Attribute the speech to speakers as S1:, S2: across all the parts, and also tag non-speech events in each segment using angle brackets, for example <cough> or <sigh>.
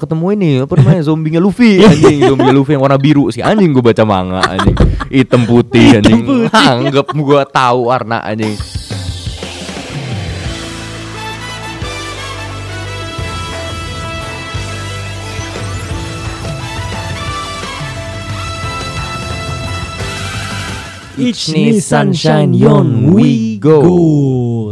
S1: ketemu ini apa
S2: <laughs>
S1: namanya zombinya Luffy
S2: Iya,
S1: anjing zombinya Luffy yang warna biru sih anjing gue baca manga anjing hitam putih anjing anggap gue tahu warna anjing
S2: Ichni Sunshine Yon We Go.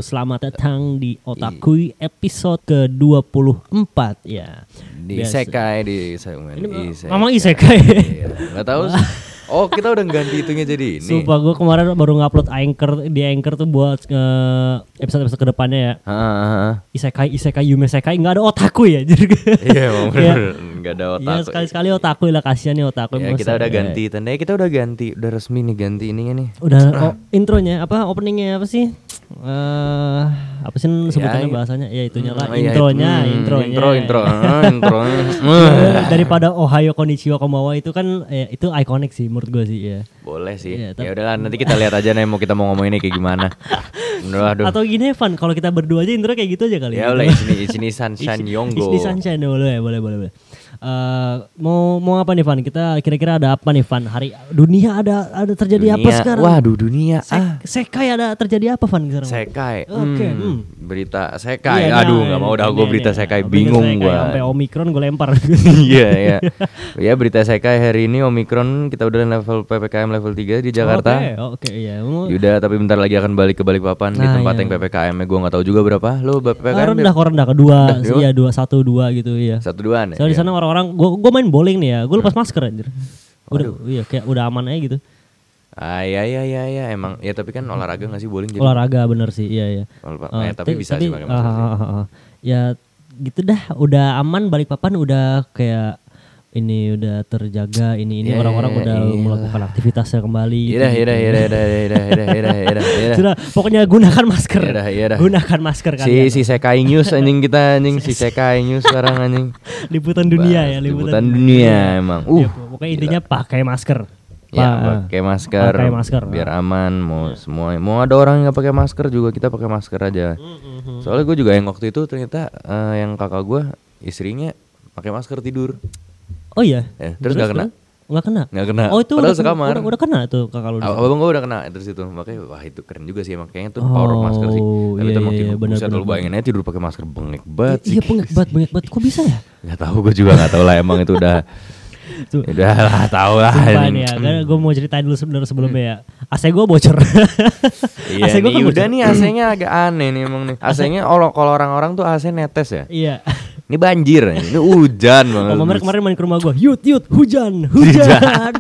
S2: Selamat
S1: Iya.
S2: datang di Otakui episode ke-24 ya.
S1: di
S2: Biasa. kan.
S1: isekai di segmen
S2: Ini ngomong isekai.
S1: kan- Iya, nggak tahu sih. oh kita udah ganti itunya jadi ini
S2: Sumpah gue kemarin baru ngupload anchor di anchor tuh buat eh, episode-episode kedepannya ya.
S1: Ah, ah, ah.
S2: Isekai, isekai, yumesekai nggak ada otaku ya. <laughs> jadi
S1: iya emang
S2: Iya.
S1: bener nggak ada otak
S2: Ya sekali-sekali otaku lah kasihan nih otaku.
S1: Ya,
S2: Masa-
S1: kita udah
S2: ya.
S1: ganti tandanya kita udah ganti udah resmi nih ganti ininya nih
S2: Udah oh, intronya apa openingnya apa sih? eh apa sih sebutannya bahasanya? Ya itunya lah
S1: Oh, iya,
S2: intronya,
S1: itu. Hmm,
S2: intronya.
S1: intro
S2: <laughs>
S1: intro Ah, intronya Hmm.
S2: Eh, daripada Ohio Konnichiwa Komawa itu kan eh, itu ikonik sih menurut gue sih ya.
S1: Boleh sih.
S2: Iya,
S1: ya
S2: tapi-
S1: udahlah nanti kita lihat aja nih mau kita mau ngomonginnya kayak gimana. Aduh, aduh.
S2: Atau gini Evan, kalau kita berdua aja intro kayak gitu aja kali.
S1: Ya oleh sini sini Sunshine Yonggo.
S2: Di sunshine ya, boleh boleh boleh. boleh. Eh, mau mau apa nih Van? Kita kira-kira ada apa nih Van? Hari dunia ada ada terjadi apa
S1: Dunia.
S2: sekarang?
S1: Waduh dunia.
S2: Sek-
S1: ah.
S2: Sekai ada terjadi apa Van sekarang?
S1: Sekai.
S2: Oke,
S1: Hmm,
S2: hmm.
S1: Berita sekai.
S2: Iya,
S1: Aduh
S2: nah,
S1: nggak mau dah
S2: ini,
S1: gue
S2: ini,
S1: berita
S2: ini.
S1: sekai
S2: Berita
S1: bingung
S2: sekai,
S1: <laughs>
S2: Sampai
S1: gue.
S2: Omikron gue lempar.
S1: Iya iya. Ya berita sekai hari ini Omikron kita udah level PPKM level 3 di Jakarta.
S2: Oke, oke iya. Mau-
S1: Yuda tapi bentar lagi akan balik ke Balikpapan di
S2: Nah,
S1: tempat
S2: iya.
S1: yang PPKM-nya gue nggak tahu juga berapa. Lo
S2: Ah,
S1: PPKM
S2: rendah kok rendah kedua, iya dua satu dua gitu iya.
S1: satu duaan ya.
S2: Soalnya di sana orang-orang gua gua main bowling nih ya, gua
S1: Hmm.
S2: lepas masker anjir. Udah iya kayak udah aman aja gitu.
S1: Ah ya ya ya ya emang ya tapi kan olahraga nggak sih bowling jadi
S2: Olahraga bener sih, iya iya.
S1: Olah-
S2: Eh,
S1: eh, tapi bisa sih pakai
S2: ah,
S1: masker sih.
S2: ah, ah, ah. Ya gitu dah, udah aman balik papan udah kayak ini udah terjaga,
S1: Iya,
S2: ini ini orang-orang udah melakukan aktivitasnya kembali. gitu.
S1: Yadah, yadah, yadah, yadah, yadah, yadah, yadah, yadah, <laughs> yadah.
S2: Sudah, pokoknya gunakan masker.
S1: Iya dah, iya dah.
S2: Gunakan masker
S1: Si
S2: kalian.
S1: si Sekai News anjing kita anjing <laughs> si Sekai News sekarang anjing.
S2: liputan dunia ya,
S1: Liputan
S2: liputan.
S1: dunia emang.
S2: Ya,
S1: Uh.
S2: pokoknya intinya pakai masker.
S1: Ya, pakai masker,
S2: Pakai masker.
S1: biar aman mau semua mau ada orang yang nggak pakai masker juga kita pakai masker aja soalnya gue juga yang waktu itu ternyata eh, yang kakak gue istrinya pakai masker tidur
S2: Oh iya.
S1: Eh, terus nggak kena
S2: Enggak kena.
S1: nggak kena
S2: Oh itu
S1: padahal
S2: udah,
S1: sekamar
S2: udah, udah kena tuh kakak lu.
S1: Ab- Abang gue udah kena terus itu makanya wah itu keren juga sih emang kayaknya tuh power of masker sih.
S2: Oh,
S1: Tapi
S2: iya,
S1: itu emang
S2: iya,
S1: tidur
S2: benar,
S1: buset
S2: benar,
S1: lu bayangin aja tidur pakai masker bengek banget sih.
S2: Iya bengek banget, bengek banget. Kok bisa ya?
S1: Gak tahu gue juga gak tahu lah emang itu
S2: <laughs>
S1: udah
S2: Tuh.
S1: Ya udah lah tahu lah. Hmm.
S2: Sumpah nih ya, karena gue mau ceritain dulu sebenarnya sebelumnya ya. AC gue bocor.
S1: <laughs>
S2: <laughs> kan
S1: Iya
S2: AC gue
S1: nih, udah nih AC-nya agak aneh nih emang nih. AC-nya kalau kalau orang-orang tuh AC netes ya.
S2: Iya.
S1: Ini banjir, ini hujan banget.
S2: Om Omer kemarin main ke rumah gue, yut yut hujan, hujan.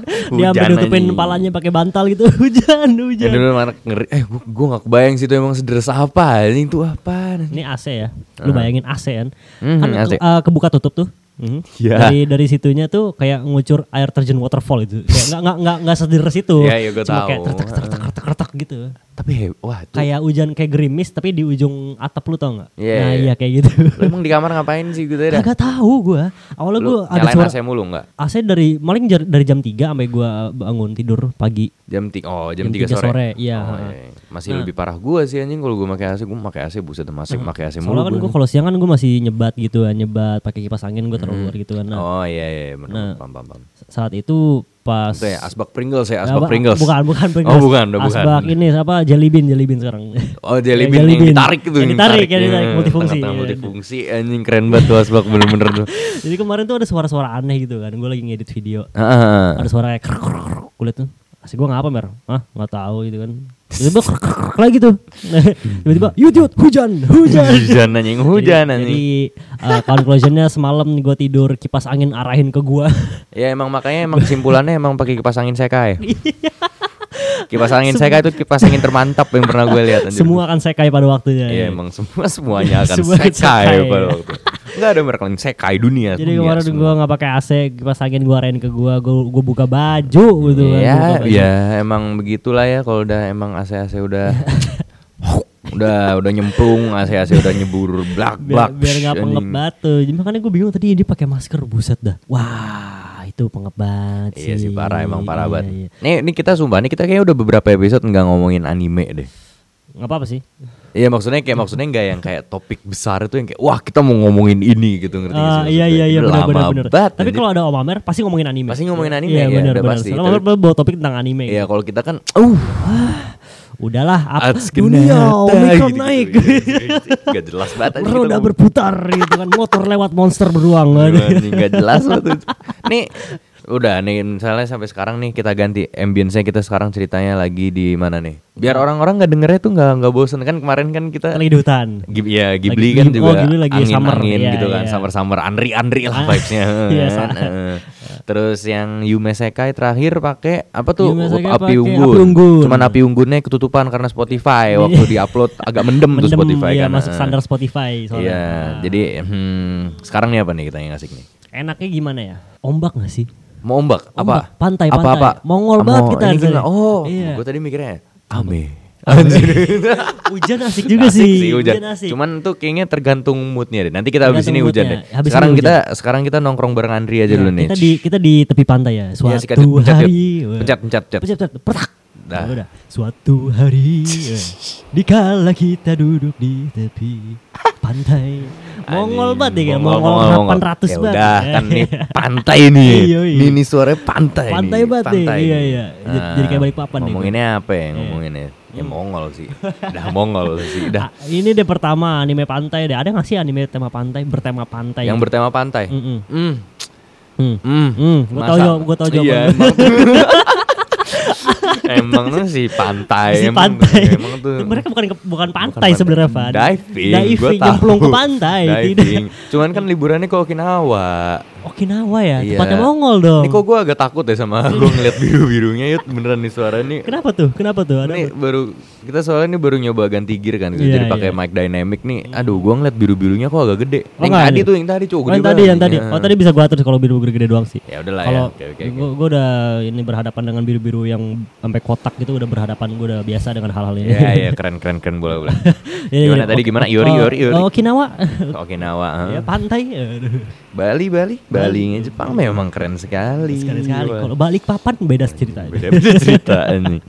S1: <laughs> Hujan,
S2: Dia sampai nutupin
S1: anjing.
S2: palanya pakai bantal gitu, <laughs> hujan,
S1: Yang
S2: hujan.
S1: dulu mana ngeri, eh gue gue gak kebayang sih itu emang sederas apa anjing tuh apa
S2: Ini AC ya. Lu bayangin AC kan.
S1: Mhm,
S2: kan
S1: AC.
S2: eh, kebuka tutup tuh. Mhm.
S1: Iya.
S2: Dari dari situnya tuh kayak ngucur air terjun waterfall itu. Kayak enggak enggak enggak enggak sederas itu.
S1: Iya, iya, gua
S2: Cuma
S1: tahu. Iya.
S2: kayak tertak tertak tertak tertak gitu.
S1: Tapi he- wah tuh
S2: Kayak hujan kayak gerimis tapi di ujung atap lu tau enggak?
S1: Iya,
S2: nah,
S1: iya.
S2: iya kayak gitu.
S1: lu emang di kamar ngapain sih gitu ya? dah?
S2: Kagak tahu gua. Awalnya gua
S1: Lu
S2: ada
S1: nyalain
S2: suara
S1: AC mulu nggak?
S2: AC dari paling jar- dari jam 3 sampai gua bangun tidur pagi.
S1: Jam tiga, oh jam,
S2: Jam
S1: tiga,
S2: tiga
S1: sore.
S2: sore, iya.
S1: Oh, Masih lebih parah gua sih anjing kalau gua pakai AC, gua pakai AC buset masih pakai AC mulu.
S2: Soalnya kan gua kalau siang kan gua masih nyebat gitu kan, nyebat pakai kipas angin gua taruh luar gitu kan. Nah,
S1: oh iya iya benar. Pam pam pam.
S2: saat itu pas
S1: Itu ya asbak Pringles ya,
S2: Ya,
S1: asbak
S2: apa-
S1: Pringles.
S2: Bukan, bukan
S1: Oh
S2: Pringles.
S1: bukan, udah bukan.
S2: Asbak ini apa jelly bean, jelly bean sekarang.
S1: Oh jelly
S2: Ya,
S1: bean
S2: jelly
S1: yang
S2: bean.
S1: ditarik itu
S2: Yang ditarik, yang
S1: ya,
S2: ditarik, multifungsi,
S1: tengah-tengah
S2: iya.
S1: multifungsi anjing keren banget tuh asbak bener-bener
S2: <laughs>
S1: tuh.
S2: Jadi kemarin tuh ada suara-suara aneh gitu kan. Gue lagi ngedit video.
S1: Heeh.
S2: Ada suara kayak krek krek krek. Gue liat tuh. Asik gue ngapa mer? Hah? Gak tahu gitu kan. Tiba-tiba krek krek krek lagi tuh. <laughs> Tiba-tiba yut yut hujan hujan.
S1: hujan anjing, <laughs> hujan
S2: Jadi-
S1: anjing.
S2: Jadi eh, conclusionnya semalam gue tidur kipas angin arahin ke gue.
S1: Ya emang makanya emang kesimpulannya emang pakai kipas angin seka ya.
S2: <laughs>
S1: kipas angin seka itu kipas angin termantap yang pernah gue lihat anjing.
S2: Semua akan sekai pada waktunya.
S1: Iya emang semua <laughs> semuanya akan
S2: Semua akan
S1: sekai
S2: sekai.
S1: pada waktu. Enggak ada mereka lain sekai dunia. dunia
S2: Jadi kemarin
S1: semua.
S2: gue nggak pakai AC, kipas angin gue arahin ke gue, gue buka baju gitu kan.
S1: ya,
S2: gua buka baju.
S1: ya emang begitulah ya kalau udah emang AC-AC
S2: <laughs>
S1: udah udah udah nyemplung AC-AC udah nyebur blak blak.
S2: biar biar nggak
S1: anjing.
S2: pengep batu jadi makanya gue bingung tadi dia pakai masker buset dah wah itu pengep banget sih
S1: Iya sih parah emang parah
S2: Iya,
S1: banget.
S2: iya.
S1: Nih, nih kita sumpah nih kita kayaknya udah beberapa episode nggak ngomongin anime deh.
S2: nggak apa-apa sih.
S1: Iya maksudnya kayak maksudnya nggak yang kayak topik besar itu yang kayak wah kita mau ngomongin ini gitu ngerti nggak sih
S2: Ah, iya
S1: maksudnya?
S2: iya iya
S1: Udah
S2: benar benar
S1: lama
S2: benar.
S1: banget,
S2: Tapi
S1: anjir.
S2: kalau ada Om Amer pasti ngomongin anime.
S1: Pasti ngomongin anime,
S2: Iya
S1: ya,
S2: benar
S1: udah
S2: benar.
S1: pasti.
S2: Soalnya Om
S1: Tapi-
S2: Amer bawa topik tentang anime.
S1: Iya kalau kita kan uh
S2: Udahlah, apa
S1: Atsukinata,
S2: dunia Omikron
S1: gitu-gitu.
S2: naik. <laughs>
S1: Gak jelas banget anjing gitu, kita
S2: Roda
S1: ngomong. Iya,
S2: berputar gitu kan, motor lewat monster beruang.
S1: Anjing gak jelas banget Nih udah nih misalnya sampai sekarang nih kita ganti ambience-nya kita sekarang ceritanya lagi di mana nih
S2: Iya.
S1: biar orang-orang nggak dengernya tuh nggak nggak bosen kan kemarin kan kita
S2: Lagi di hutan.
S1: Ghib- ya Ghibli
S2: Lagi
S1: kan
S2: Ghib-
S1: juga
S2: oh, Ghibli lagi
S1: angin
S2: summer,
S1: angin
S2: iya,
S1: gitu kan
S2: iya.
S1: summer summer anri anri lah vibesnya
S2: Iya,
S1: <laughs> kan.
S2: sama.
S1: Heeh. terus yang Yume Sekai terakhir pakai apa tuh
S2: Yume Sekai
S1: api
S2: pakai
S1: unggun.
S2: api unggun. Iya.
S1: cuman api unggunnya ketutupan karena Spotify waktu diupload agak mendem, tuh
S2: Mendem,
S1: Spotify
S2: iya,
S1: kan
S2: masuk
S1: Heeh.
S2: standar Spotify soalnya. Ah.
S1: iya jadi hmm, sekarang nih apa nih kita yang asik nih
S2: Enaknya gimana ya? Ombak gak sih?
S1: mau ombak apa
S2: Ombak, pantai,
S1: apa apa
S2: pantai. Mongol banget kita
S1: ini gimana?
S2: akhirnya.
S1: oh
S2: Iya.
S1: gue tadi mikirnya ame Anjir. <laughs>
S2: Hujan asik juga
S1: Asik
S2: sih.
S1: hujan.
S2: asik.
S1: Cuman tuh kayaknya tergantung moodnya deh. Nanti kita habis ini
S2: Tergantung
S1: hujan deh.
S2: moodnya. Habis
S1: sekarang
S2: ini Ya,
S1: kita sekarang kita nongkrong bareng Andri aja dulu nih.
S2: Iya, kita di kita di tepi pantai ya. Suatu
S1: Iya, sikat, pencet, pencet.
S2: hari. wah.
S1: Pencet, pencet, pencet.
S2: petak.
S1: Dah.
S2: Udah. Suatu hari eh, dikala kita duduk di tepi pantai. Mongol banget ya, kayak Mongol, 800
S1: Ya
S2: banget. <laughs>
S1: udah
S2: ya.
S1: kan nih pantai nih.
S2: Iya, iya.
S1: Ini nih suaranya pantai.
S2: Pantai
S1: nih.
S2: banget nih, iya, iya. Jadi-
S1: Ah,
S2: jadi kayak Balikpapan nih gue.
S1: Ngomonginnya apa
S2: Iya.
S1: ya ngomonginnya? Ya
S2: Hmm.
S1: Mongol sih. Dah Mongol sih. Dah.
S2: Ah, ini deh pertama anime pantai deh. Ada gak sih anime tema pantai bertema <laughs> pantai?
S1: Yang bertema pantai.
S2: Mm-mm.
S1: Mm.
S2: Hmm.
S1: Mm.
S2: Hmm, gua tahu
S1: Masa-
S2: jawab- gua tahu
S1: Iya,
S2: jawaban. <laughs>
S1: emang. emang tuh si pantai.
S2: Si
S1: emang-
S2: pantai.
S1: Emang tuh.
S2: Mereka bukan ke- bukan pantai sebenarnya, Van.
S1: Diving, gua
S2: Diving
S1: tahu.
S2: nyemplung ke pantai.
S1: Diving.
S2: Tidak.
S1: Cuman kan liburannya ke Okinawa.
S2: Okinawa ya,
S1: Iya.
S2: tempatnya Mongol dong.
S1: Ini kok gue agak takut ya sama gue ngeliat biru-birunya yut beneran nih suara nih.
S2: Kenapa tuh? Kenapa tuh? Ada
S1: Ini baru kita soalnya ini baru nyoba ganti gear kan gitu.
S2: Iya,
S1: Jadi pakai
S2: iya.
S1: mic dynamic nih. Aduh, gua ngeliat biru-birunya kok agak gede.
S2: Oh,
S1: yang
S2: nggak
S1: tadi
S2: ada.
S1: tuh, yang tadi cowok
S2: Oh, yang tadi, yang tadi. Oh, tadi bisa gua atur kalau biru biru gede doang sih.
S1: Ya udahlah ya.
S2: Kalau
S1: Oke, oke, oke.
S2: gua, gua udah ini berhadapan dengan biru-biru yang sampai kotak gitu udah berhadapan gua udah biasa dengan hal-hal ini.
S1: Ya, ya keren keren keren bola bola.
S2: <laughs> Iya,
S1: Gimana
S2: iya.
S1: tadi
S2: Ok-
S1: gimana? Yori
S2: oh,
S1: yori yori.
S2: oh, Okinawa. <laughs>
S1: Okinawa. eh.
S2: ya pantai.
S1: Iya,
S2: Aduh.
S1: Bali Bali Bali Jepang memang keren sekali.
S2: Sekali-sekali
S1: Wah.
S2: kalau balik papan beda cerita aja.
S1: beda beda
S2: <laughs>
S1: cerita nih.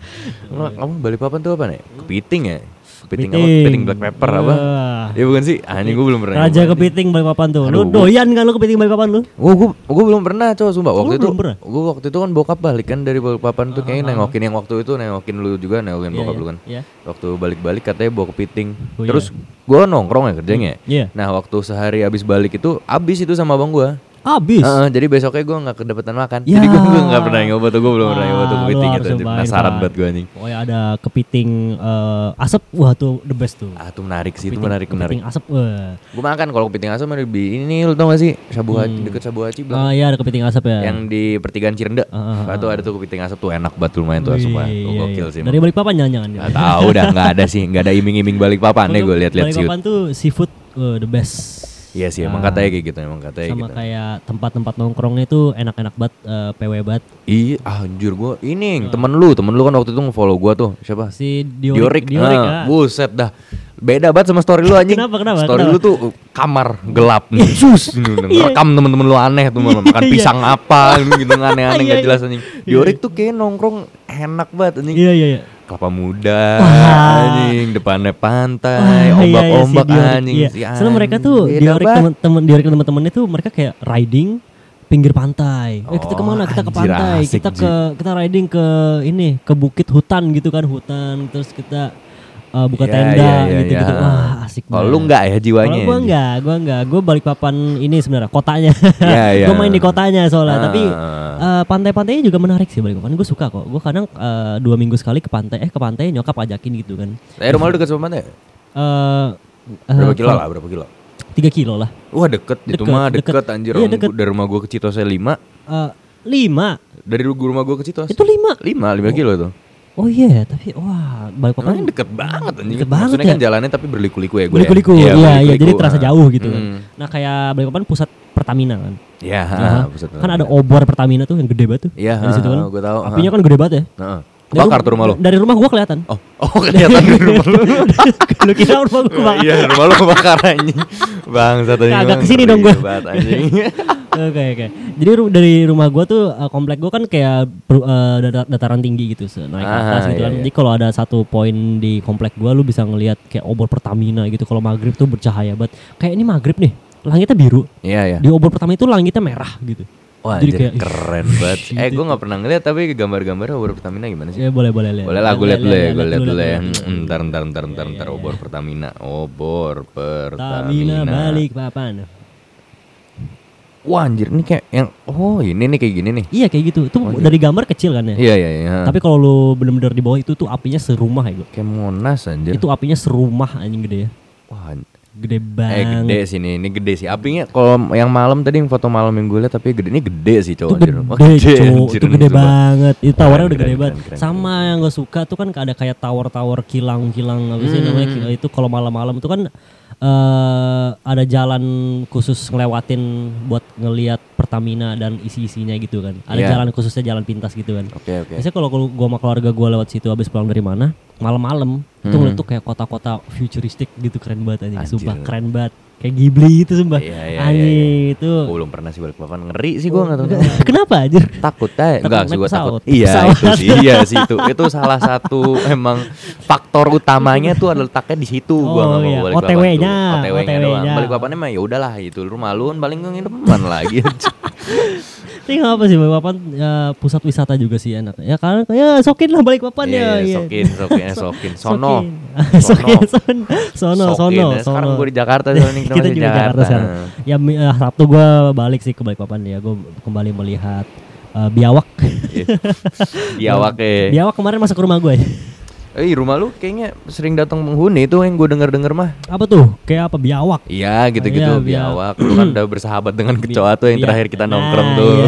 S1: Kamu, kamu balik papan tuh apa nih? Kepiting ya? Kepiting apa? Kepiting black pepper apa?
S2: Wah.
S1: Ya bukan sih. Ah ini gue belum pernah.
S2: Raja
S1: nyoba.
S2: kepiting balik papan tuh. Lu
S1: Aduh, gua-
S2: doyan kan lu kepiting balik papan lu?
S1: Gue gue gue belum pernah coba sumpah waktu
S2: Lu
S1: itu.
S2: belum pernah? Ah.
S1: Gue waktu itu kan bokap balik kan dari balik papan tuh kayaknya nengokin yang waktu itu nengokin lu juga nengokin bokap lu kan.
S2: Iya.
S1: Waktu balik-balik katanya bawa kepiting.
S2: Oh, iya.
S1: Terus gue nongkrong ya kerjanya.
S2: Iya.
S1: Nah waktu sehari abis balik itu abis itu sama abang gue.
S2: Abis.
S1: Heeh, jadi besoknya gue gak kedapetan makan.
S2: Ya.
S1: Jadi gue gak pernah nyoba tuh, gue belum pernah
S2: Wah,
S1: nyoba tuh
S2: lu
S1: kepiting
S2: harus
S1: gitu. anjir.
S2: cobain,
S1: Penasaran
S2: Pan.
S1: banget gue anjing.
S2: Pokoknya ada kepiting eh, asap, wah tuh the best tuh.
S1: Ah tuh menarik sih, itu
S2: Kepiting-
S1: menarik menarik.
S2: Kepiting asap, wah.
S1: Gue makan kalau kepiting asam ada di ini lu tau gak sih? Sabu Haji, deket Sabu Haji belakang.
S2: Oh iya ada kepiting asap Hmm. ya.
S1: Yang di pertigaan Cirende.
S2: Ah,
S1: Nah, tuh ada tuh kepiting asap tuh enak banget lumayan tuh asapnya.
S2: Wih,
S1: Tuh
S2: iya,
S1: gokil
S2: iya.
S1: sih.
S2: Dari balik papan jangan-jangan. dia.
S1: Gak tahu dah nggak ada sih, nggak ada iming-iming balik papan deh gue lihat-lihat
S2: Balik
S1: sih.
S2: papan tuh seafood eh, the best.
S1: Iya sih emang katanya kayak gitu, emang katanya
S2: Sama
S1: gitu.
S2: kayak tempat-tempat nongkrongnya tuh enak-enak banget, eh, PW banget.
S1: Iya, ah, anjir gue ini
S2: Ah.
S1: temen lu, temen lu kan waktu itu nge-follow gue tuh siapa?
S2: Si
S1: Diorik,
S2: Diorik,
S1: ah,
S2: ah.
S1: buset dah. Beda banget sama story lu anjing.
S2: Kenapa, kenapa,
S1: Story
S2: kenapa? Iya.
S1: lu tuh uh, kamar gelap nih.
S2: <laughs>
S1: Sus, rekam temen-temen lu aneh tuh mama, makan pisang
S2: <laughs>
S1: apa gitu gitu, aneh-aneh
S2: Iya,
S1: gak
S2: iya.
S1: jelas anjing. Diorik tuh kayak nongkrong enak banget anjing.
S2: Iya iya iya.
S1: Kelapa muda
S2: Wah.
S1: anjing, depannya pantai,
S2: Wah, iya, iya, si
S1: ombak-ombak
S2: Diorik,
S1: anjing.
S2: iya.
S1: si
S2: Soalnya mereka tuh
S1: anjing, beda
S2: diorik
S1: banget.
S2: teman-teman diorik teman-temannya tuh mereka kayak riding pinggir pantai. Eh kita
S1: Oh,
S2: kemana? Kita ke
S1: anjir,
S2: pantai.
S1: asik,
S2: kita ke kita riding ke ini ke bukit hutan gitu kan hutan. Terus kita eh,
S1: Iya,
S2: buka tenda
S1: iya, iya,
S2: gitu-gitu.
S1: iya.
S2: Wah asik
S1: Kalau lu enggak ya jiwanya.
S2: Kalau gue
S1: anjing.
S2: enggak, gue enggak, gue balik papan ini sebenarnya kotanya. <laughs>
S1: Iya, iya.
S2: Gue main di kotanya soalnya,
S1: Ah.
S2: tapi eh, pantai-pantainya juga menarik sih balik papan. Gue suka kok. Gue kadang eh, dua minggu sekali ke pantai, eh ke pantai nyokap ajakin gitu kan.
S1: Eh rumah lu dekat sama pantai?
S2: Eh eh,
S1: Berapa kilo lah, berapa kilo?
S2: Tiga kilo lah.
S1: Wah deket, itu
S2: Deket,
S1: mah deket,
S2: deket.
S1: anjir
S2: Iya,
S1: orang
S2: deket.
S1: gua- dari rumah gua ke Citosnya 5
S2: Eh lima,
S1: Dari ru- rumah gua ke Citos
S2: itu lima.
S1: 5, 5 kilo itu
S2: Oh iya, tapi wah balik
S1: Emangnya
S2: papan
S1: deket banget anjing
S2: Deket banget
S1: Maksudnya
S2: ya.
S1: kan jalannya tapi berliku-liku ya gue
S2: Beliku-liku,
S1: ya,
S2: iya, iya,
S1: berliku-liku,
S2: jadi terasa
S1: ah.
S2: jauh gitu kan.
S1: Hmm.
S2: Nah kayak balik papan pusat Pertamina kan.
S1: Iya
S2: Nah, kan ada obor Pertamina tuh yang gede banget tuh.
S1: Iya,
S2: Di situ kan.
S1: gue tau
S2: Apinya kan gede banget ya.
S1: Bakar tuh rumah lu
S2: Dari rumah gua kelihatan.
S1: Oh, oh kelihatan dari rumah
S2: <laughs>
S1: lu
S2: Lu kira rumah gua
S1: Iya rumah lu kebakar anjing Bang satu
S2: Kagak kesini dong gua.
S1: anjing
S2: <laughs> Oke oke. Jadi ru- dari rumah gua tuh eh, komplek gua kan kayak peru- eh, data- dataran tinggi gitu, se- naik ke
S1: Ah,
S2: atas gitu
S1: iya,
S2: kan.
S1: iya.
S2: Jadi kalau ada satu poin di komplek gua lu bisa ngelihat kayak obor Pertamina gitu. Kalau maghrib tuh bercahaya banget. Kayak ini maghrib nih, langitnya biru.
S1: Iya ya.
S2: Di obor Pertamina itu langitnya merah gitu.
S1: Wah,
S2: Jadi
S1: anjir,
S2: kayak, Gitu. ih,
S1: keren
S2: <laughs>
S1: banget. Eh, gue nggak pernah ngeliat tapi gambar-gambarnya obor Pertamina gimana sih?
S2: Ya boleh boleh lihat.
S1: Boleh lah, gue liat dulu ya, gue liat
S2: lu,
S1: dulu ya.
S2: lu.
S1: Hmm, Ntar, ntar, ntar, ntar, ntar, obor Pertamina, obor
S2: Iya. Pertamina
S1: Pertamina.
S2: balik papan.
S1: Wah, anjir, ini kayak yang, oh ini nih kayak gini nih.
S2: Iya kayak gitu. Itu dari gambar kecil kan ya.
S1: Oh, Iya, iya, iya.
S2: Tapi kalau lu bener-bener di bawah itu tuh apinya serumah ya, gua.
S1: Kayak Monas anjir.
S2: Itu apinya serumah anjing gede ya.
S1: Wah, an-
S2: Gede
S1: eh
S2: banget.
S1: gede sih ini, ini gede sih. Apinya kalau yang malam tadi yang foto malam yang gue liat tapi gede ini gede sih
S2: itu
S1: cowok
S2: gede,
S1: Wah,
S2: cuk.
S1: anjir,
S2: itu
S1: ini
S2: gede
S1: sumpah.
S2: banget itu tawarnya
S1: Keren,
S2: udah gede
S1: keren,
S2: banget
S1: keren, keren,
S2: sama yang gue suka tuh kan ada kayak tower-tower kilang-kilang apa sih namanya
S1: Hmm,
S2: ki- itu kalau malam-malam itu kan eh ada jalan khusus ngelewatin buat ngelihat Pertamina dan isi-isinya gitu kan ada
S1: Iya.
S2: jalan khususnya jalan pintas gitu kan
S1: Oke, oke.
S2: biasanya kalau kalau gua sama keluarga gua lewat situ habis pulang dari mana malam-malam
S1: Hmm.
S2: itu ngeliat tuh kayak kota-kota futuristik gitu keren banget anjing
S1: Anjir.
S2: sumpah keren banget kayak Ghibli itu sumpah
S1: Iya, iya, iya,
S2: anjing itu
S1: Gue belum pernah sih balik papan ngeri sih
S2: Oh,
S1: gue nggak tahu.
S2: kenapa anjir
S1: takut aja
S2: Takut
S1: enggak sih
S2: naik
S1: gue takut
S2: pesawat.
S1: iya
S2: Pesawat.
S1: itu sih iya sih itu itu salah satu emang faktor utamanya tuh adalah letaknya di situ gue
S2: Oh,
S1: nggak mau
S2: iya.
S1: balik
S2: OTW-nya,
S1: OTW-nya doang
S2: OTW-nya.
S1: balik papannya mah ya udahlah itu rumah lu paling gue ngidepan lagi
S2: Tapi nggak apa sih Balikpapan ya, pusat wisata juga sih enak. Ya kan ya sokin lah Balikpapan
S1: Iya,
S2: ya.
S1: iya,
S2: <laughs> iya.
S1: sokin sokin eh,
S2: <laughs>
S1: sokin sono
S2: Sokin. sokin sono sono
S1: Sokin,
S2: sono.
S1: ya. Sekarang gua di Jakarta,
S2: <laughs>
S1: sekarang ini kita
S2: kita
S1: masih di
S2: juga di Jakarta
S1: Jakarta.
S2: sekarang. Ya mi- eh, Sabtu gua balik sih ke Balikpapan ya. Gua kembali melihat eh, biawak.
S1: Iya. biawak eh
S2: <laughs> biawak kemarin masuk ke rumah gue.
S1: eh rumah lu kayaknya sering datang penghuni itu yang gue denger denger mah
S2: apa tuh? Kayak apa biawak?
S1: Iya gitu-gitu
S2: Iya,
S1: biawak Lu kan udah bersahabat dengan kecoa tuh yang
S2: Iya.
S1: terakhir kita
S2: Nah,
S1: nongkrong
S2: iya,
S1: tuh
S2: iya.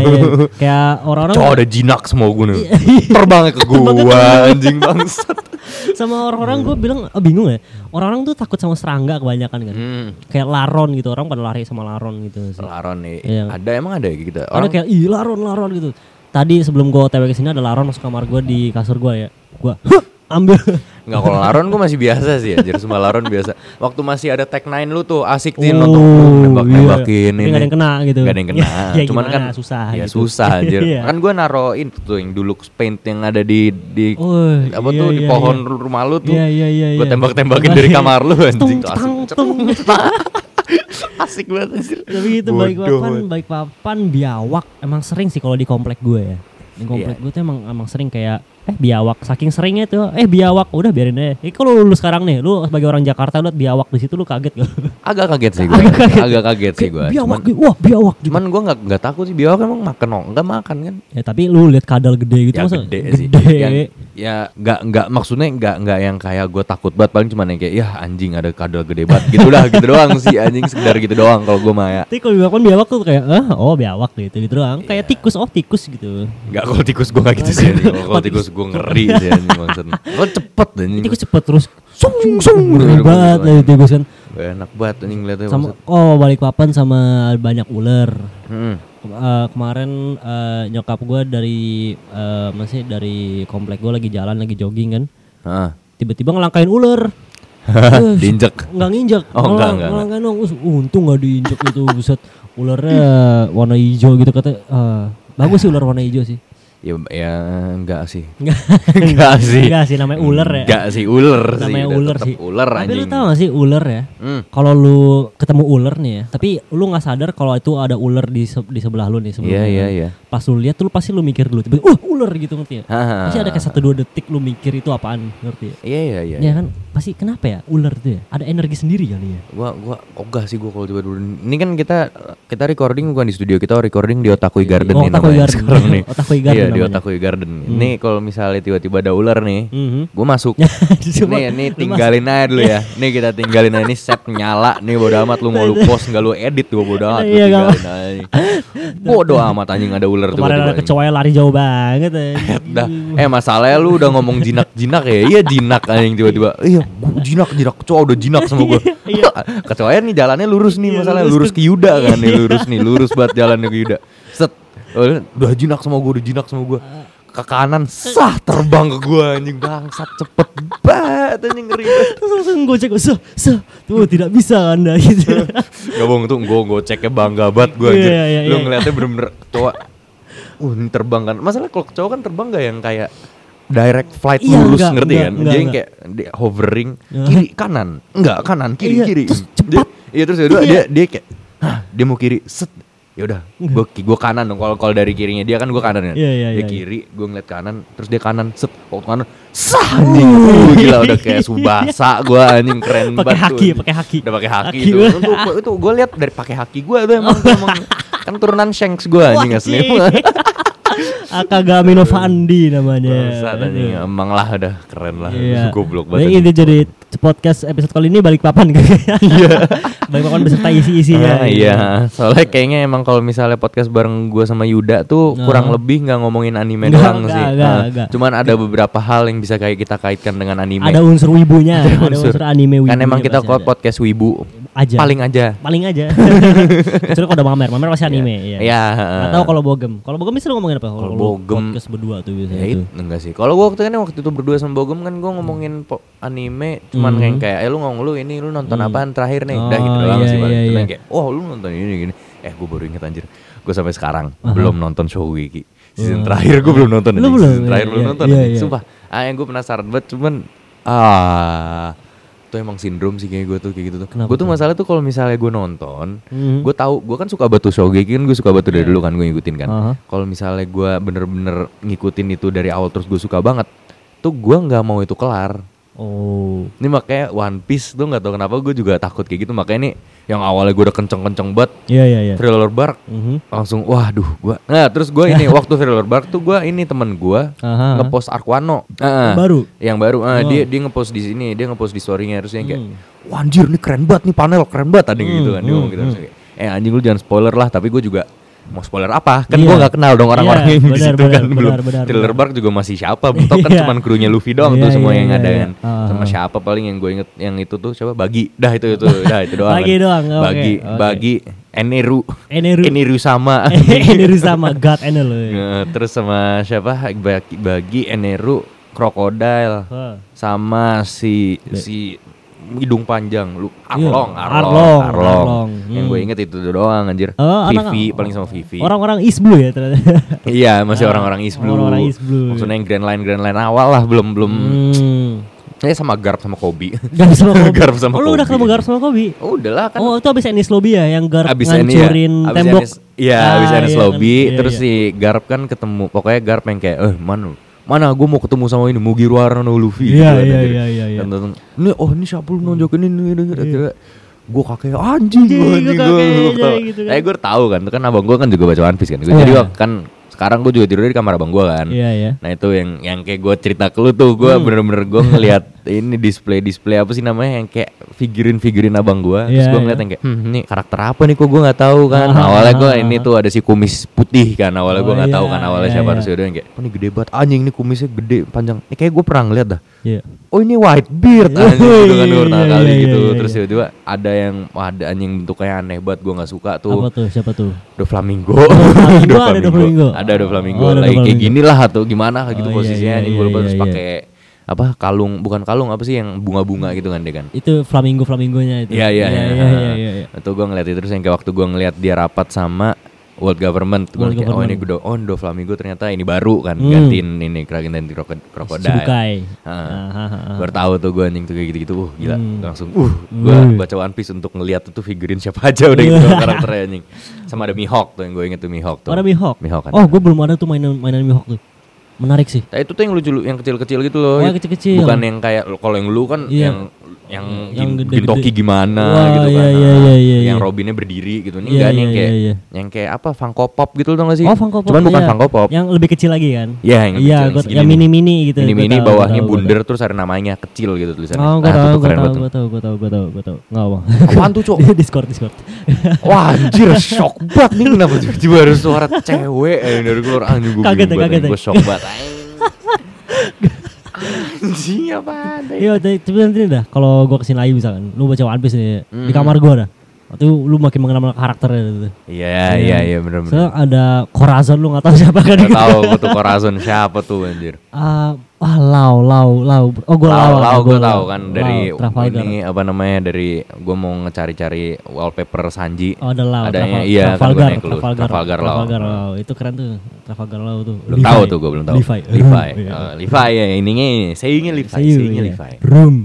S2: Kayak
S1: <laughs>
S2: orang-orang
S1: Cowok ada jinak semua gue nih Terbangnya ke gua anjing bangsat
S2: sama orang-orang gue bilang "Ah, bingung ya. Orang-orang tuh takut sama serangga kebanyakan kan.
S1: Hmm,
S2: Kayak laron gitu orang pada lari sama laron gitu. sih.
S1: laron nih
S2: Iya.
S1: Ada emang ada ya gitu
S2: Ada
S1: Orang
S2: kayak ih laron laron gitu. Tadi sebelum gua otw ke sini ada laron masuk kamar gua di kasur gua ya. Gua "Huh, ambil.
S1: <laughs> Enggak kalau laron gue masih biasa sih anjir Semua laron biasa Waktu masih ada tag 9 lu tuh asik tin
S2: Oh,
S1: lu tuh
S2: iya.
S1: Nembak-nembakin
S2: Tapi nggak ada yang kena gitu.
S1: Gak ada yang kena
S2: <laughs> Ya,
S1: Cuman
S2: gimana,
S1: kan
S2: susah
S1: Ya
S2: gitu. <laughs>
S1: susah anjir
S2: Iya.
S1: Kan gue naroin tuh yang dulu paint yang ada di di
S2: Oh,
S1: apa
S2: iya,
S1: tuh di
S2: iya,
S1: pohon rumah lu tuh
S2: Iya iya iya.
S1: gue
S2: iya.
S1: tembak-tembakin dari kamar lu anjing
S2: Tung
S1: tuh asik
S2: tang
S1: banget.
S2: tung.
S1: <laughs> asik banget anjir
S2: Tapi itu
S1: Bodoh
S2: baik papan,
S1: banget.
S2: baik papan biawak emang sering sih kalau di komplek gue ya. Di komplek
S1: Iya.
S2: gue tuh emang emang sering kayak eh biawak saking seringnya tuh eh biawak udah biarin aja. Eh kalau lu, lu sekarang nih lu sebagai orang Jakarta liat biawak di situ lu kaget gak?
S1: agak kaget sih gue
S2: Agak kaget.
S1: agak kaget sih
S2: Kayak
S1: gue
S2: biawak,
S1: cuman,
S2: gitu. wah biawak gitu.
S1: cuman gue nggak nggak takut sih biawak emang makan no nggak makan kan
S2: Ya tapi lu lihat kadal gede gitu
S1: ya
S2: masa
S1: gede, sih
S2: gede.
S1: Yang- ya nggak nggak maksudnya nggak nggak yang kayak gue takut banget paling cuman yang kayak ya anjing ada kadal gede banget gitu dah gitu doang sih anjing sekedar gitu doang kalau gue maya
S2: Tapi kalau biawak kan biawak tuh kayak eh oh biawak gitu gitu
S1: Iya.
S2: doang. Kayak tikus oh tikus gitu.
S1: Nggak kalau tikus gue nggak gitu sih anjing. Kalau kalau tikus gue ngeri sih anjing maksud Kalau cepet anjing
S2: Tikus cepet terus sung sung sung
S1: Gitu, gitu,
S2: banget
S1: gitu.
S2: dari tikus kan.
S1: Enak banget anjing ngeliatnya
S2: Sama
S1: maksud.
S2: oh balik papan sama banyak ular.
S1: Hmm.
S2: Kem- eh, kemarin eh, nyokap gue dari eh, masih dari komplek gue lagi jalan lagi jogging kan.
S1: Ah.
S2: Tiba-tiba ngelangkain ular.
S1: <laughs> Diinjek.
S2: Nggak nginjek.
S1: Oh, nggak,
S2: Ngelang-
S1: nggak,
S2: ngelangkain dong. Us, untung nggak diinjek itu buset. Ularnya warna hijau gitu kata eh, bagus sih ular warna hijau
S1: <laughs>
S2: sih.
S1: Ya, ya enggak sih.
S2: Nggak-
S1: enggak sih.
S2: Enggak sih namanya ular ya.
S1: Enggak sih ular sih.
S2: namanya
S1: udah
S2: ular
S1: tetep
S2: sih.
S1: Ular
S2: Tapi lu
S1: anjing.
S2: tau gak sih ular ya?
S1: Hmm.
S2: Kalau lu ketemu ular nih ya, tapi lu nggak sadar kalau itu ada ular di se- di sebelah lu nih sebelumnya.
S1: Iya iya
S2: kan.
S1: iya.
S2: Pas lu lihat tuh lu pasti lu mikir dulu tiba "Uh, ular" gitu ngerti ya?
S1: Haha.
S2: Pasti ada kayak satu dua detik lu mikir itu apaan, ngerti ya?
S1: Iya iya Ah. iya.
S2: Ya kan pasti kenapa ya ular tuh ya? Ada energi sendiri kali ya.
S1: Gua gua ogah sih gua kalau tiba dulu. Ini kan kita kita recording bukan di studio kita recording di Otakui Garden
S2: Oh,
S1: nih
S2: Otakui
S1: namanya
S2: Garden.
S1: sekarang nih.
S2: Otakui Garden
S1: Iya, di
S2: namanya. Hmm.
S1: Otakui Garden. Ini kalau misalnya tiba-tiba ada ular nih,
S2: <laughs> Mhm.
S1: gua masuk.
S2: Cuma-
S1: nih, nih tinggalin aja dulu ya. Nih kita tinggalin aja nih set nyala nih bodo amat lu mau lu post enggak lu edit gua bodo amat lu
S2: Iya, nggak
S1: tinggalin aja. nih. Bodo amat anjing ada ular
S2: Kemarin
S1: tiba-tiba
S2: ada
S1: anjing.
S2: kecoa yang lari jauh banget ya.
S1: Dah, eh masalahnya lu udah ngomong jinak-jinak ya? Iya jinak anjing tiba-tiba. Iya, gua jinak jinak kecoa udah jinak sama gua.
S2: Iya.
S1: Kecoa ya, nih jalannya lurus nih masalahnya lurus ke Yuda kan Oh, nih lurus nih lurus banget jalannya ke Yuda. Set. Udah jinak sama gua, udah jinak sama gua. ke kanan sah terbang ke gua anjing bangsat cepet banget anjing ngeri
S2: Terus langsung gocek, so, so, tuh tidak bisa anda gitu.
S1: Gak bohong tuh gue goceknya bangga banget gue anjir
S2: Iya, iya,
S1: Lu
S2: iya.
S1: ngeliatnya bener-bener cowok Uh ini terbang kan Masalah kalau cowok kan terbang gak yang kayak Direct flight
S2: Iya,
S1: lurus
S2: enggak,
S1: ngerti
S2: enggak,
S1: kan
S2: enggak,
S1: Jadi yang
S2: enggak.
S1: kayak di hovering
S2: Iya.
S1: Kiri kanan Enggak kanan kiri
S2: Iya,
S1: kiri
S2: terus
S1: Dia-
S2: cepat.
S1: Iya terus kedua
S2: Iya.
S1: dia, dia kayak Hah dia mau kiri set ya udah gue gue kanan dong kalau kalau dari kirinya dia kan gue kanan kan
S2: Iya, iya,
S1: dia
S2: iya, iya.
S1: kiri gue ngeliat kanan terus dia kanan set waktu kanan sah anjing Wuh, gila udah kayak subasa gue anjing keren
S2: Pakai
S1: banget tuh,
S2: haki,
S1: anjing.
S2: pakai haki.
S1: udah pakai haki,
S2: Haki
S1: itu
S2: gua.
S1: itu, itu gue lihat dari pakai haki gue tuh emang, tuh <laughs> emang kan turunan Shanks gue <laughs> anjing
S2: Wah,
S1: asli <laughs>
S2: anjing. Akagami Novandi namanya.
S1: Bangsat anjing emang lah udah keren lah
S2: Iya.
S1: goblok
S2: Jadi
S1: banget
S2: ini jadi podcast episode kali ini balik papan kayaknya. Iya. <laughs> balik papan beserta
S1: Ah,
S2: isi-isinya.
S1: iya, soalnya kayaknya emang kalau misalnya podcast bareng gue sama Yuda tuh
S2: Nah.
S1: kurang lebih nggak ngomongin anime
S2: Nggak,
S1: doang
S2: nggak,
S1: sih.
S2: nggak,
S1: Ah,
S2: nggak. Iya.
S1: Cuman ada beberapa hal yang bisa kayak kita kaitkan dengan anime.
S2: Ada unsur wibunya, ada unsur, anime wibunya.
S1: Kan emang kita
S2: pasti
S1: kalau
S2: ada. Iya.
S1: podcast wibu
S2: aja.
S1: paling aja.
S2: paling
S1: <laughs>
S2: aja. Kecuali kalau udah mamer, mamer pasti anime ya.
S1: Ya.
S2: Atau kalau bogem. Kalau bogem bisa lu ngomongin apa?
S1: Kalau
S2: lu
S1: bogem-
S2: podcast berdua tuh biasanya
S1: Ya
S2: tuh.
S1: itu enggak sih. Kalau gua waktu kan waktu itu berdua sama Bogem kan gua ngomongin po- anime cuman
S2: Hmm.
S1: kayak kayak eh lu ngomong lu ini lu nonton
S2: Hmm.
S1: apaan terakhir nih.
S2: Oh,
S1: Udah gitu doang
S2: iya,
S1: sih paling.
S2: iya,
S1: Cuman
S2: iya.
S1: kayak oh lu nonton ini gini. Eh gua baru inget anjir. Gua sampai sekarang belum nonton Shougi. Season terakhir gua belum nonton
S2: Oh. Lu
S1: anjing.
S2: belum?
S1: Season terakhir
S2: Iya,
S1: belum
S2: iya,
S1: nonton.
S2: iya,
S1: anjing.
S2: iya.
S1: Sumpah. Ah yang gua penasaran banget cuman ah itu emang sindrom sih kayak gue tuh kayak gitu tuh.
S2: Kenapa
S1: Gue tuh masalah tuh kalau misalnya gue nonton,
S2: Mhm.
S1: gue tahu gue kan suka batu shogeki kan gue suka batu dari dulu kan gue ngikutin kan
S2: Iya. Aha.
S1: kalau misalnya gue bener-bener ngikutin itu dari awal terus gue suka banget tuh gue nggak mau itu kelar
S2: Oh.
S1: ini makanya One Piece tuh nggak tahu kenapa gue juga takut kayak gitu makanya nih yang awalnya gue udah kenceng-kenceng banget
S2: Iya iya iya.
S1: thriller bark
S2: Mhm.
S1: langsung waduh gue nah terus gue
S2: <laughs>
S1: ini waktu thriller bark tuh gue ini temen gue
S2: Aha.
S1: ngepost Arkwano Heeh.
S2: Baru? Oh.
S1: yang baru ah, dia dia ngepost di sini dia ngepost di storynya terus yang kayak
S2: Hmm.
S1: wah anjir nih keren banget nih panel keren banget tadi gitu kan dia ngomong gitu Terus kayak, eh anjing lu jangan spoiler lah tapi gue juga mau spoiler apa kan
S2: Iya.
S1: gue nggak kenal dong orang-orang
S2: Iya,
S1: yang di
S2: benar,
S1: situ
S2: benar,
S1: kan
S2: benar,
S1: belum
S2: benar,
S1: thriller
S2: benar.
S1: bark juga masih siapa
S2: <laughs>
S1: tau kan
S2: Iya.
S1: cuman krunya Luffy doang
S2: Iya,
S1: tuh semua
S2: iya,
S1: yang
S2: iya,
S1: ada
S2: iya.
S1: kan
S2: Ah,
S1: sama
S2: ah.
S1: siapa paling yang gue inget yang itu tuh siapa bagi dah itu itu dah itu doang
S2: Bagi
S1: kan.
S2: doang, oke,
S1: bagi
S2: oke.
S1: bagi Eneru
S2: Eneru.
S1: Eneru sama
S2: <laughs> Eneru sama God Enel. ya.
S1: Eh, terus sama siapa bagi bagi Eneru Crocodile
S2: Hah.
S1: sama si si hidung panjang lu Arlong Arlong
S2: Iya, Arlong,
S1: Arlong.
S2: Arlong,
S1: yang
S2: hmm.
S1: gue inget itu doang anjir
S2: Oh, anak-
S1: Vivi paling sama Vivi
S2: Orang-orang East Blue ya ternyata.
S1: iya masih orang-orang East Blue
S2: Ah, orang-orang East Blue.
S1: maksudnya yang Grand Line Grand Line awal lah belum belum
S2: Hmm.
S1: eh sama Garp sama Kobi
S2: <laughs> Garp
S1: <laughs>
S2: sama Kobi.
S1: Garp sama
S2: oh, lu udah
S1: Kobe.
S2: ketemu Garp sama Kobi?
S1: oh udah lah kan
S2: oh, itu abis Enis Lobby ya yang Garp
S1: abis ini ya,
S2: ngancurin
S1: abis
S2: tembok.
S1: Enis- Iya,
S2: Ah,
S1: abis Enis
S2: iya kan.
S1: lobby,
S2: Iya,
S1: terus
S2: iya.
S1: si Garp kan ketemu, pokoknya Garp yang kayak, eh mana, mana gue mau ketemu sama ini Mugiwara no Luffy. kan,
S2: Iya, iya,
S1: anjir.
S2: iya, iya, iya.
S1: Dan datang, ini oh ini siapa lu nonjokin ini, ini, ini, Gue kakek anjing,
S2: Anjing,
S1: gua anjing gue
S2: gua kakek,
S1: gue tau.
S2: anjay, gitu kan.
S1: Eh gue tahu kan, kan abang gue kan juga baca One Piece kan. Gua,
S2: Iya.
S1: Jadi gua kan sekarang gue juga tidur di kamar abang gue kan.
S2: Iya, iya.
S1: Nah itu yang yang kayak gue cerita ke lu tuh
S2: Hmm.
S1: gue bener-bener
S2: <laughs>
S1: gue ngeliat ini display display apa sih namanya yang kayak figurin figurin abang gue terus gue
S2: Iya, iya.
S1: ngeliat yang kayak hmm, ini karakter apa nih kok gue nggak tahu kan
S2: Ah,
S1: awalnya gue
S2: ah,
S1: ini tuh ada si kumis putih kan awalnya gue
S2: Oh,
S1: nggak tahu
S2: iya,
S1: kan awalnya
S2: iya,
S1: siapa
S2: iya.
S1: terus udah yang kayak oh, ini gede banget anjing ini kumisnya gede panjang ini kayak gue pernah ngeliat dah
S2: Iya.
S1: oh ini white beard
S2: Iya,
S1: anjing gitu kan
S2: iya,
S1: gue pertama
S2: iya,
S1: kali
S2: iya,
S1: gitu
S2: iya,
S1: terus
S2: iya.
S1: tiba-tiba ada yang wah, ada anjing bentuknya aneh banget gue nggak suka
S2: Apa
S1: tuh
S2: tuh? Siapa tuh?
S1: Do Flamingo. <laughs>
S2: Flamingo, ada Do Flamingo.
S1: Ada Do Flamingo.
S2: Oh, ada Do
S1: Lagi kayak
S2: Flamingo.
S1: gini lah atau gimana gitu
S2: Oh, iya,
S1: posisinya
S2: iya,
S1: anjing gue lupa
S2: iya,
S1: terus
S2: iya.
S1: pakai apa kalung bukan kalung apa sih yang bunga-bunga gitu kan dia kan.
S2: Itu flamingo flamingonya itu.
S1: Iya iya
S2: iya. Iya iya iya. iya.
S1: Itu gue ngeliat itu terus yang kayak waktu gue ngeliat dia rapat sama World Government, Gua
S2: World
S1: kayak, oh ini
S2: Government.
S1: Do, oh Do Flamingo ternyata ini baru kan
S2: Hmm.
S1: gantiin ini kerakin ganti kroko- krokodil.
S2: Shichibukai.
S1: Heeh.
S2: Ah, ah, ah.
S1: Baru tahu tuh gue anjing tuh kayak gitu-gitu Wah gila
S2: Hmm.
S1: langsung uh gue
S2: Hmm.
S1: baca One Piece untuk ngeliat tuh figurin siapa aja udah gitu
S2: <laughs>
S1: karakternya anjing sama ada Mihawk tuh yang gue inget tuh Mihawk tuh
S2: Ada Mihawk.
S1: Mihawk kan
S2: Oh, gue belum ada tuh mainan mainan Mihawk tuh. Menarik sih.
S1: Nah, itu tuh yang lucu yang kecil-kecil gitu loh.
S2: Oh, yang kecil-kecil.
S1: Bukan yang kayak kalau yang lu kan
S2: Iya.
S1: yang yang, gin-
S2: Yang gede-gede.
S1: gintoki gimana
S2: Wah,
S1: gitu kan.
S2: iya, iya, iya, iya,
S1: yang
S2: iya.
S1: Robinnya berdiri gitu. Ini
S2: Iya,
S1: enggak nih
S2: iya,
S1: yang kayak
S2: iya, iya.
S1: yang kayak apa Funko Pop gitu loh gak sih?
S2: Oh, Funko Pop.
S1: Cuman bukan
S2: iya.
S1: Funko Pop.
S2: Yang lebih kecil lagi kan?
S1: Iya, yang kecil,
S2: Iya,
S1: yang
S2: gua-
S1: segini
S2: yang
S1: nih.
S2: mini-mini gitu. gua
S1: Mini-mini
S2: tahu,
S1: bawahnya
S2: gua tahu, gua
S1: bundar terus ada namanya kecil gitu tulisannya.
S2: Oh, gue
S1: itu tuh
S2: tau, gue
S1: keren
S2: tau,
S1: banget.
S2: gue tau, gue tau, gue tau, gue tau Nggak bang
S1: Apaan <laughs> tuh, Cok?
S2: Discord, Discord
S1: Wah anjir
S2: <laughs>
S1: shock banget nih kenapa tiba-tiba ada suara cewek eh, dari keluar anjing gue
S2: Kaget ya, kaget ya.
S1: gue shock
S2: <laughs>
S1: banget anjing apa
S2: Iya, tapi tapi nanti dah, kalau gue kesini lagi misalkan Lu baca One Piece nih, di kamar gue dah Itu lu makin mengenal karakternya gitu.
S1: Iya, iya, iya bener bener.
S2: Soalnya ada Corazon lu nggak tahu siapa kan?
S1: Gak tahu gua tuh Corazon siapa tuh anjir.
S2: <laughs> Ah, ah, Lau, Lau, Lau. Oh, gue
S1: Lau,
S2: Lau.
S1: lau
S2: gua
S1: gue tahu kan
S2: Lau,
S1: dari
S2: Trafalgar.
S1: ini apa namanya dari gue mau ngecari-cari wallpaper Sanji.
S2: Oh, ada Lau.
S1: Adanya
S2: Trafal-
S1: iya kan gua
S2: Trafalgar,
S1: naik dulu.
S2: Trafalgar,
S1: Trafalgar Lau.
S2: Trafalgar Lau. Itu keren tuh. Trafalgar Lau tuh.
S1: Belum
S2: Levi.
S1: tahu tuh gue belum tahu.
S2: Levi.
S1: Levi.
S2: <laughs> Iya.
S1: Eh, Levi ya ininya ini. Sayangnya Levi,
S2: Sayu,
S1: sayangnya
S2: iya.
S1: Levi.
S2: Room.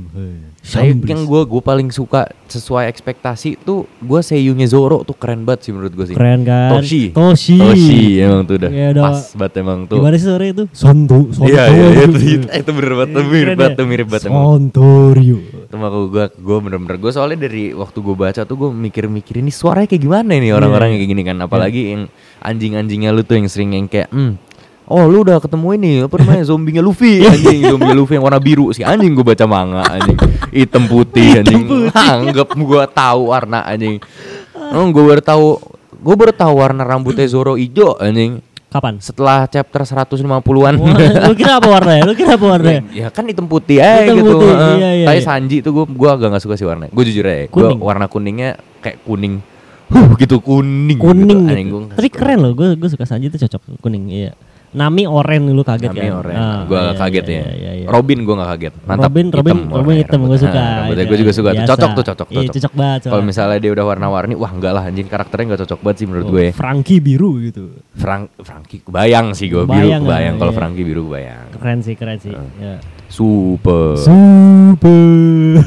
S1: Saya yang gue gue paling suka sesuai ekspektasi tuh gue seiyunya Zoro tuh keren banget sih menurut gue sih.
S2: Keren kan?
S1: Toshi.
S2: Toshi.
S1: Toshi emang tuh udah
S2: Iya, udah.
S1: pas banget emang tuh.
S2: Gimana gitu. sih sore itu? Sontu,
S1: Iya iya iya, itu itu, itu bener banget
S2: Iya,
S1: tuh, mirip banget tuh, mirip banget emang.
S2: Sontorio.
S1: Cuma gue gue gue bener-bener gue soalnya dari waktu gue baca tuh gue mikir-mikir ini suaranya kayak gimana ini orang-orang yang kayak gini kan apalagi yang anjing-anjingnya lu tuh yang sering yang kayak hmm oh lu udah ketemu ini apa <laughs> namanya zombinya Luffy anjing zombie Luffy yang warna biru si anjing gue baca manga anjing hitam putih anjing <laughs> anggap gue tahu warna anjing oh, gue baru tahu gue baru tahu warna rambutnya Zoro ijo anjing
S2: Kapan?
S1: setelah chapter 150-an
S2: Wah, lu kira apa warnanya? Lu kira apa warnanya?
S1: <laughs> Ya kan hitam putih aja
S2: Hitam
S1: gitu.
S2: putih,
S1: heeh.
S2: iya, iya,
S1: Tapi
S2: iya.
S1: Sanji tuh gue gua agak gak suka sih warnanya. Gue jujur aja, gua
S2: Kuning.
S1: warna kuningnya kayak kuning. Huh, gitu kuning.
S2: Kuning
S1: gitu.
S2: gitu.
S1: Anjing, gua nggak
S2: Tapi
S1: suka.
S2: keren loh, gue gue suka Sanji itu cocok kuning, iya. Nami oranye lu kaget
S1: Nami
S2: kan?
S1: oranye.
S2: Ah,
S1: gua
S2: iya,
S1: agak kaget
S2: iya,
S1: ya.
S2: iya, iya.
S1: Robin gua gak kaget. Mantap.
S2: Robin, Robin,
S1: warnanya
S2: Robin hitam gue
S1: rambutnya.
S2: suka.
S1: Ah, Rambutnya
S2: aja.
S1: gue juga suka. tuh.
S2: Biasa.
S1: Cocok tuh, cocok,
S2: Iya, cocok banget.
S1: Kalau
S2: soalnya.
S1: misalnya dia udah warna-warni, wah enggak lah anjing karakternya gak cocok banget sih menurut ya.
S2: Oh,
S1: gue.
S2: Frankie biru gitu.
S1: Frank Franky kebayang sih gue biru
S2: Kebayang,
S1: kebayang.
S2: ah,
S1: Kalau
S2: iya.
S1: Franky biru kebayang.
S2: Keren sih, keren sih.
S1: Ah.
S2: Iya.
S1: Super.
S2: Super. <laughs>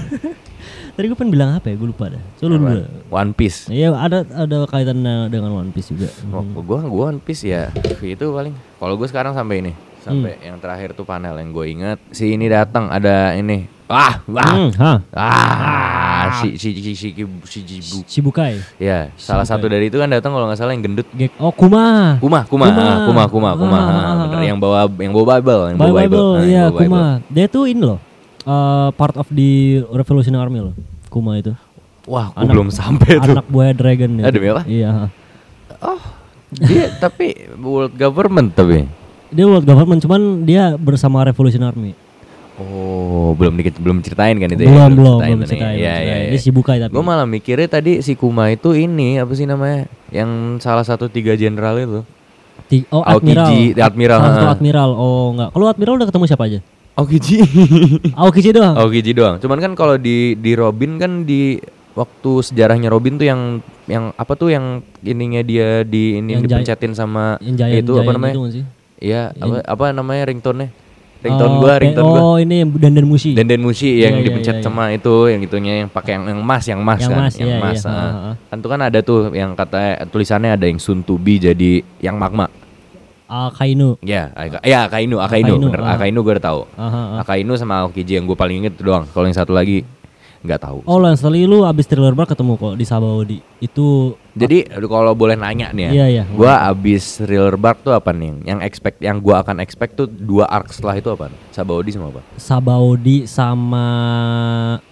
S2: Tadi gue pengen bilang apa ya? Gue lupa dah. Coba lu dulu. dah.
S1: One Piece.
S2: Iya, ada ada kaitan dengan One Piece juga.
S1: Waktu gua gua One Piece ya itu paling. Kalau gua sekarang sampai ini, sampai
S2: Hmm.
S1: yang terakhir tuh panel yang gue ingat si ini datang ada ini. Ah, wah.
S2: Hmm, ha.
S1: Ah, si si si si si, si, si-
S2: Shibukai.
S1: Ya, salah satu dari itu kan datang kalau nggak salah yang gendut.
S2: Gek. Oh, Kuma.
S1: Kuma, Kuma,
S2: Kuma.
S1: ah, Kuma, Kuma, Kuma.
S2: Ah,
S1: ah,
S2: ah,
S1: bener.
S2: ah.
S1: yang bawa yang bawa Bible, yang
S2: Bible,
S1: bawa Bible. ah, yang
S2: iya
S1: bawa Bible.
S2: Kuma. Dia tuh ini loh. eh, part of the Revolutionary Army loh. Kuma itu.
S1: Wah, gua belum sampai tuh.
S2: Anak buah Dragon
S1: Ah, demi apa?
S2: Iya. ha.
S1: Oh, dia tapi world government tapi.
S2: Dia world government cuman dia bersama Revolution Army.
S1: Oh, belum dikit belum ceritain kan itu ya?
S2: belum belum
S1: ceritain tuh
S2: belum
S1: nih. Iya,
S2: ceritain. belum
S1: iya,
S2: ceritain.
S1: iya.
S2: Dia Shibukai tapi.
S1: Gue malah mikirnya tadi si Kuma itu ini apa sih namanya? Yang salah satu tiga jenderal itu.
S2: Ti- oh, Admiral.
S1: Aokiji, Admiral.
S2: Salah satu
S1: heeh.
S2: Admiral. Oh, enggak. Kalau Admiral udah ketemu siapa aja?
S1: Aokiji.
S2: Aokiji doang.
S1: <laughs> Aokiji doang. Cuman kan kalau di di Robin kan di waktu sejarahnya Robin tuh yang yang apa tuh yang ininya dia di ini
S2: Yang
S1: dipencetin sama
S2: Yang Giant-
S1: itu apa
S2: Giant
S1: namanya?
S2: itu nggak sih?
S1: Iya, apa, apa namanya ringtone-nya? Ringtone
S2: Oh,
S1: gua,
S2: pe-
S1: ringtone gua.
S2: Oh, ini yang Dandan Mushi.
S1: Denden Mushi yang
S2: Iya, iya,
S1: dipencet
S2: iya, iya.
S1: sama itu yang itunya yang pakai yang, yang emas yang emas
S2: Yang
S1: kan
S2: emas,
S1: yang
S2: iya,
S1: emas.
S2: iya.
S1: ah.
S2: Ha, ha.
S1: Kan tuh kan ada tuh yang kata tulisannya ada yang Suntubi jadi yang magma.
S2: Akainu.
S1: Ya, Aika- ya Akainu, Akainu,
S2: Akainu,
S1: bener.
S2: ah.
S1: Akainu gue udah tahu.
S2: Aha, aha.
S1: Akainu sama Aokiji yang gue paling inget doang. Kalau yang satu lagi nggak tahu.
S2: Oh, Lance Lee lu abis thriller bar ketemu kok di Sabaudi. Itu
S1: Jadi aduh, kalau boleh nanya nih ya,
S2: Iya, iya.
S1: gue abis Thriller Bark tuh apa nih? Yang expect, yang gue akan expect tuh dua arc setelah itu apa? Sabaody sama apa?
S2: Sabaudi sama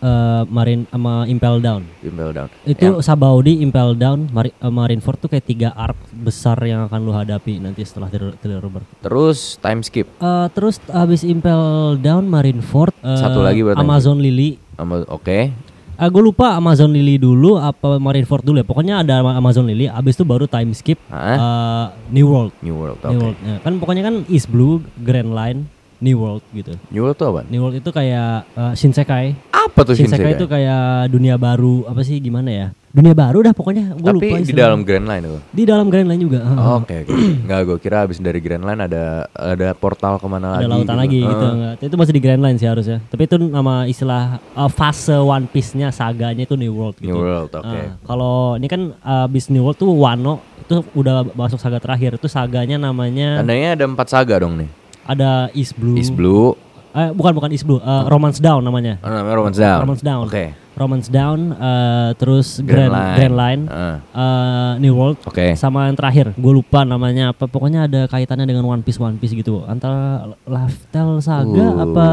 S2: eh, Marin sama Impel Down.
S1: Impel Down.
S2: Itu Sabaudi, Impel Down, Mari, eh, Marineford tuh kayak tiga arc besar yang akan lu hadapi nanti setelah Thriller Thriller Bark.
S1: Terus time skip
S2: Eh, terus abis Impel Down, Marineford, eh,
S1: Satu lagi berarti.
S2: Amazon Lily.
S1: sama oke.
S2: Ah, gue lupa Amazon Lily dulu apa Marineford dulu ya. Pokoknya ada Amazon Lily, abis itu baru time skip
S1: Hah?
S2: eh, New World.
S1: Ah, New World. Oke.
S2: New World. ya. Kan pokoknya kan East Blue, Grand Line, New World gitu.
S1: New World tuh apa?
S2: New World itu kayak eh, Shinsekai.
S1: Apa tuh Shinsekai?
S2: Shinsekai itu kayak dunia baru apa sih gimana ya? Dunia baru dah pokoknya. Gua
S1: Tapi
S2: lupa
S1: di
S2: Ah. istilahnya.
S1: dalam Grand Line itu.
S2: di dalam Grand Line juga. heeh.
S1: Oh, Oke, oke. nggak gue kira abis dari Grand Line ada ada portal kemana lagi?
S2: ada lautan
S1: gitu.
S2: lagi gitu.
S1: Heeh.
S2: enggak. Itu masih di Grand Line sih harusnya. Tapi itu nama istilah eh, fase One Piece-nya saganya itu New World gitu.
S1: New World, oke.
S2: Ah, kalau ini kan abis New World tuh Wano itu udah masuk saga terakhir. Itu saganya namanya
S1: Tandanya ada empat saga dong nih.
S2: ada East Blue.
S1: Kan East Blue,
S2: Eh, bukan bukan East Blue, eh, Romance Down namanya.
S1: oh, namanya Romance Down.
S2: Romance Down.
S1: Oke.
S2: Romance Down eh, terus
S1: Grand
S2: Grand
S1: Line.
S2: Grand Line,
S1: Heeh.
S2: eh, New World
S1: Ah, Oke.
S2: sama yang terakhir gue lupa namanya apa pokoknya ada kaitannya dengan One Piece One Piece gitu antara Love Tale Saga
S1: Uh,
S2: apa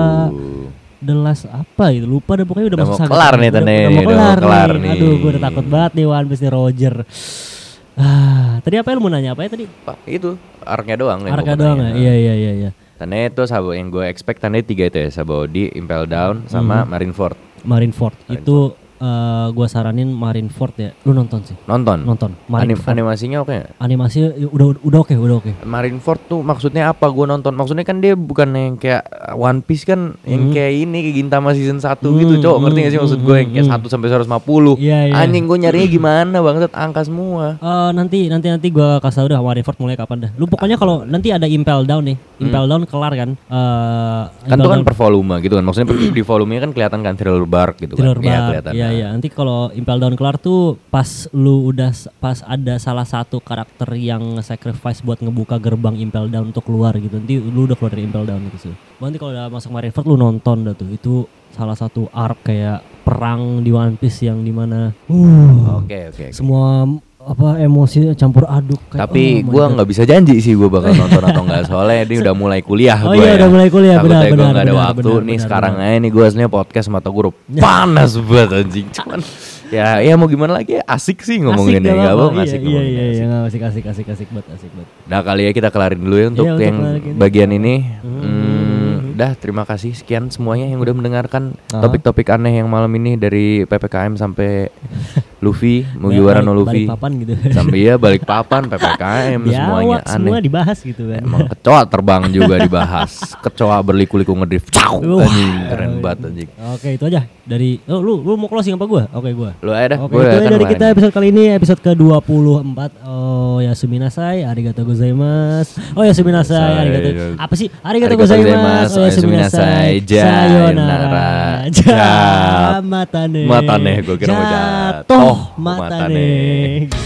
S2: The Last apa gitu lupa deh pokoknya udah,
S1: Udah
S2: masuk
S1: mau
S2: saga
S1: kelar nih,
S2: udah,
S1: Tane.
S2: udah mau
S1: Udah mau
S2: kelar,
S1: kelar
S2: nih.
S1: nih.
S2: aduh gue udah takut banget nih One Piece nih Roger ah tadi apa ya lu mau nanya apa ya tadi
S1: Pak, itu arc-nya doang yang gua
S2: Arka
S1: mau
S2: doang
S1: nanya.
S2: ya iya iya iya iya
S1: Tandanya itu sabo yang
S2: Hmm.
S1: gue expect tandanya tiga itu ya, Sabaody, Impel Down sama Marineford.
S2: Marineford itu eh eh, gua saranin Marineford ya. Lu nonton sih.
S1: Nonton.
S2: Nonton
S1: Anim-
S2: Marineford.
S1: animasinya oke. nggak?
S2: Animasi ya, udah udah oke, udah oke.
S1: Marineford tuh maksudnya apa gue nonton maksudnya kan dia bukan yang kayak One Piece kan yang kayak ini kayak Gintama season 1 gitu
S2: Hmm,
S1: cowok ngerti gak sih
S2: hmm,
S1: maksud
S2: hmm,
S1: gue yang kayak
S2: hmm.
S1: 1 sampai 150
S2: Iya, iya.
S1: anjing gue nyarinya gimana bangsat angka semua
S2: Eh, nanti nanti nanti gua kasih tau dah Marineford mulai kapan dah. Lu pokoknya kalau nanti ada Impel Down nih. Impel Down kelar kan. Eh,
S1: Hmm. kan
S2: Impel
S1: tuh kan
S2: Down
S1: per volume gitu kan maksudnya
S2: <clears throat>
S1: per- di volumenya kan kelihatan kan thriller bark gitu
S2: Thriller
S1: kan
S2: Bark. Iya,
S1: kelihatan
S2: iya, Nanti kalau Impel Down kelar tuh pas lu udah s- pas ada salah satu karakter yang sacrifice buat ngebuka gerbang Impel Down untuk keluar gitu. Nanti lu udah keluar dari Impel Down gitu sih. Nanti kalau udah masuk Marineford lu nonton dah tuh. Itu salah satu arc kayak perang di One Piece yang dimana uh,
S1: oke oke oke.
S2: semua m- apa emosi campur aduk kayak,
S1: tapi
S2: oh my
S1: gue
S2: God.
S1: nggak bisa janji sih gue bakal nonton atau
S2: <laughs>
S1: nggak soalnya ini udah mulai kuliah
S2: Oh
S1: gue ya.
S2: iya, udah mulai kuliah,
S1: Takutnya
S2: benar,
S1: gua
S2: benar,
S1: nggak ada
S2: benar,
S1: waktu
S2: benar,
S1: nih
S2: benar,
S1: sekarang aja nih gue aslinya podcast mata gue udah panas banget anjing
S2: <laughs>
S1: cuman ya ya mau gimana lagi asik sih ngomongin
S2: Asik
S1: ya
S2: gak
S1: nggak
S2: apa-apa,
S1: apa asik
S2: iya,
S1: ngomongin
S2: iya,
S1: asik.
S2: iya, asik, asik, asik, asik banget, asik banget.
S1: Nah kali ya kita kelarin dulu ya untuk
S2: Iya, untuk
S1: yang
S2: kelarin ini.
S1: bagian ini. Hmm, dah terima kasih sekian semuanya yang udah mendengarkan
S2: Aha.
S1: topik-topik aneh yang malam ini dari ppkm
S2: <laughs>
S1: sampai Luffy, Mugiwara no
S2: Balik-
S1: Luffy,
S2: balik papan <laughs>
S1: <laughs>
S2: gitu.
S1: sampai ya balik papan ppkm semuanya
S2: Biawak, semua
S1: aneh.
S2: dibahas gitu kan.
S1: Emang kecoa terbang juga
S2: <laughs>
S1: dibahas. Kecoa berliku-liku ngedrift. Ciao,
S2: Wah.
S1: anjing keren banget anjing.
S2: Oke itu aja dari oh, lu lu mau closing apa gua? Oke gua.
S1: Lu aja dah.
S2: Oke
S1: gua
S2: itu aja
S1: kan
S2: dari
S1: kemarin.
S2: kita episode kali ini episode ke-24 Oh ya suminasai arigato gozaimasu Oh ya suminasai arigato Apa sih? Arigato,
S1: Arigato gozaimasu,
S2: gozaimasu Oh ya
S1: oyasuminasai,
S2: suminasai Sayonara
S1: sayonara,
S2: Ja- Matane
S1: Matane, gua kira mau jatuh,
S2: Jatuh Matane
S1: matane.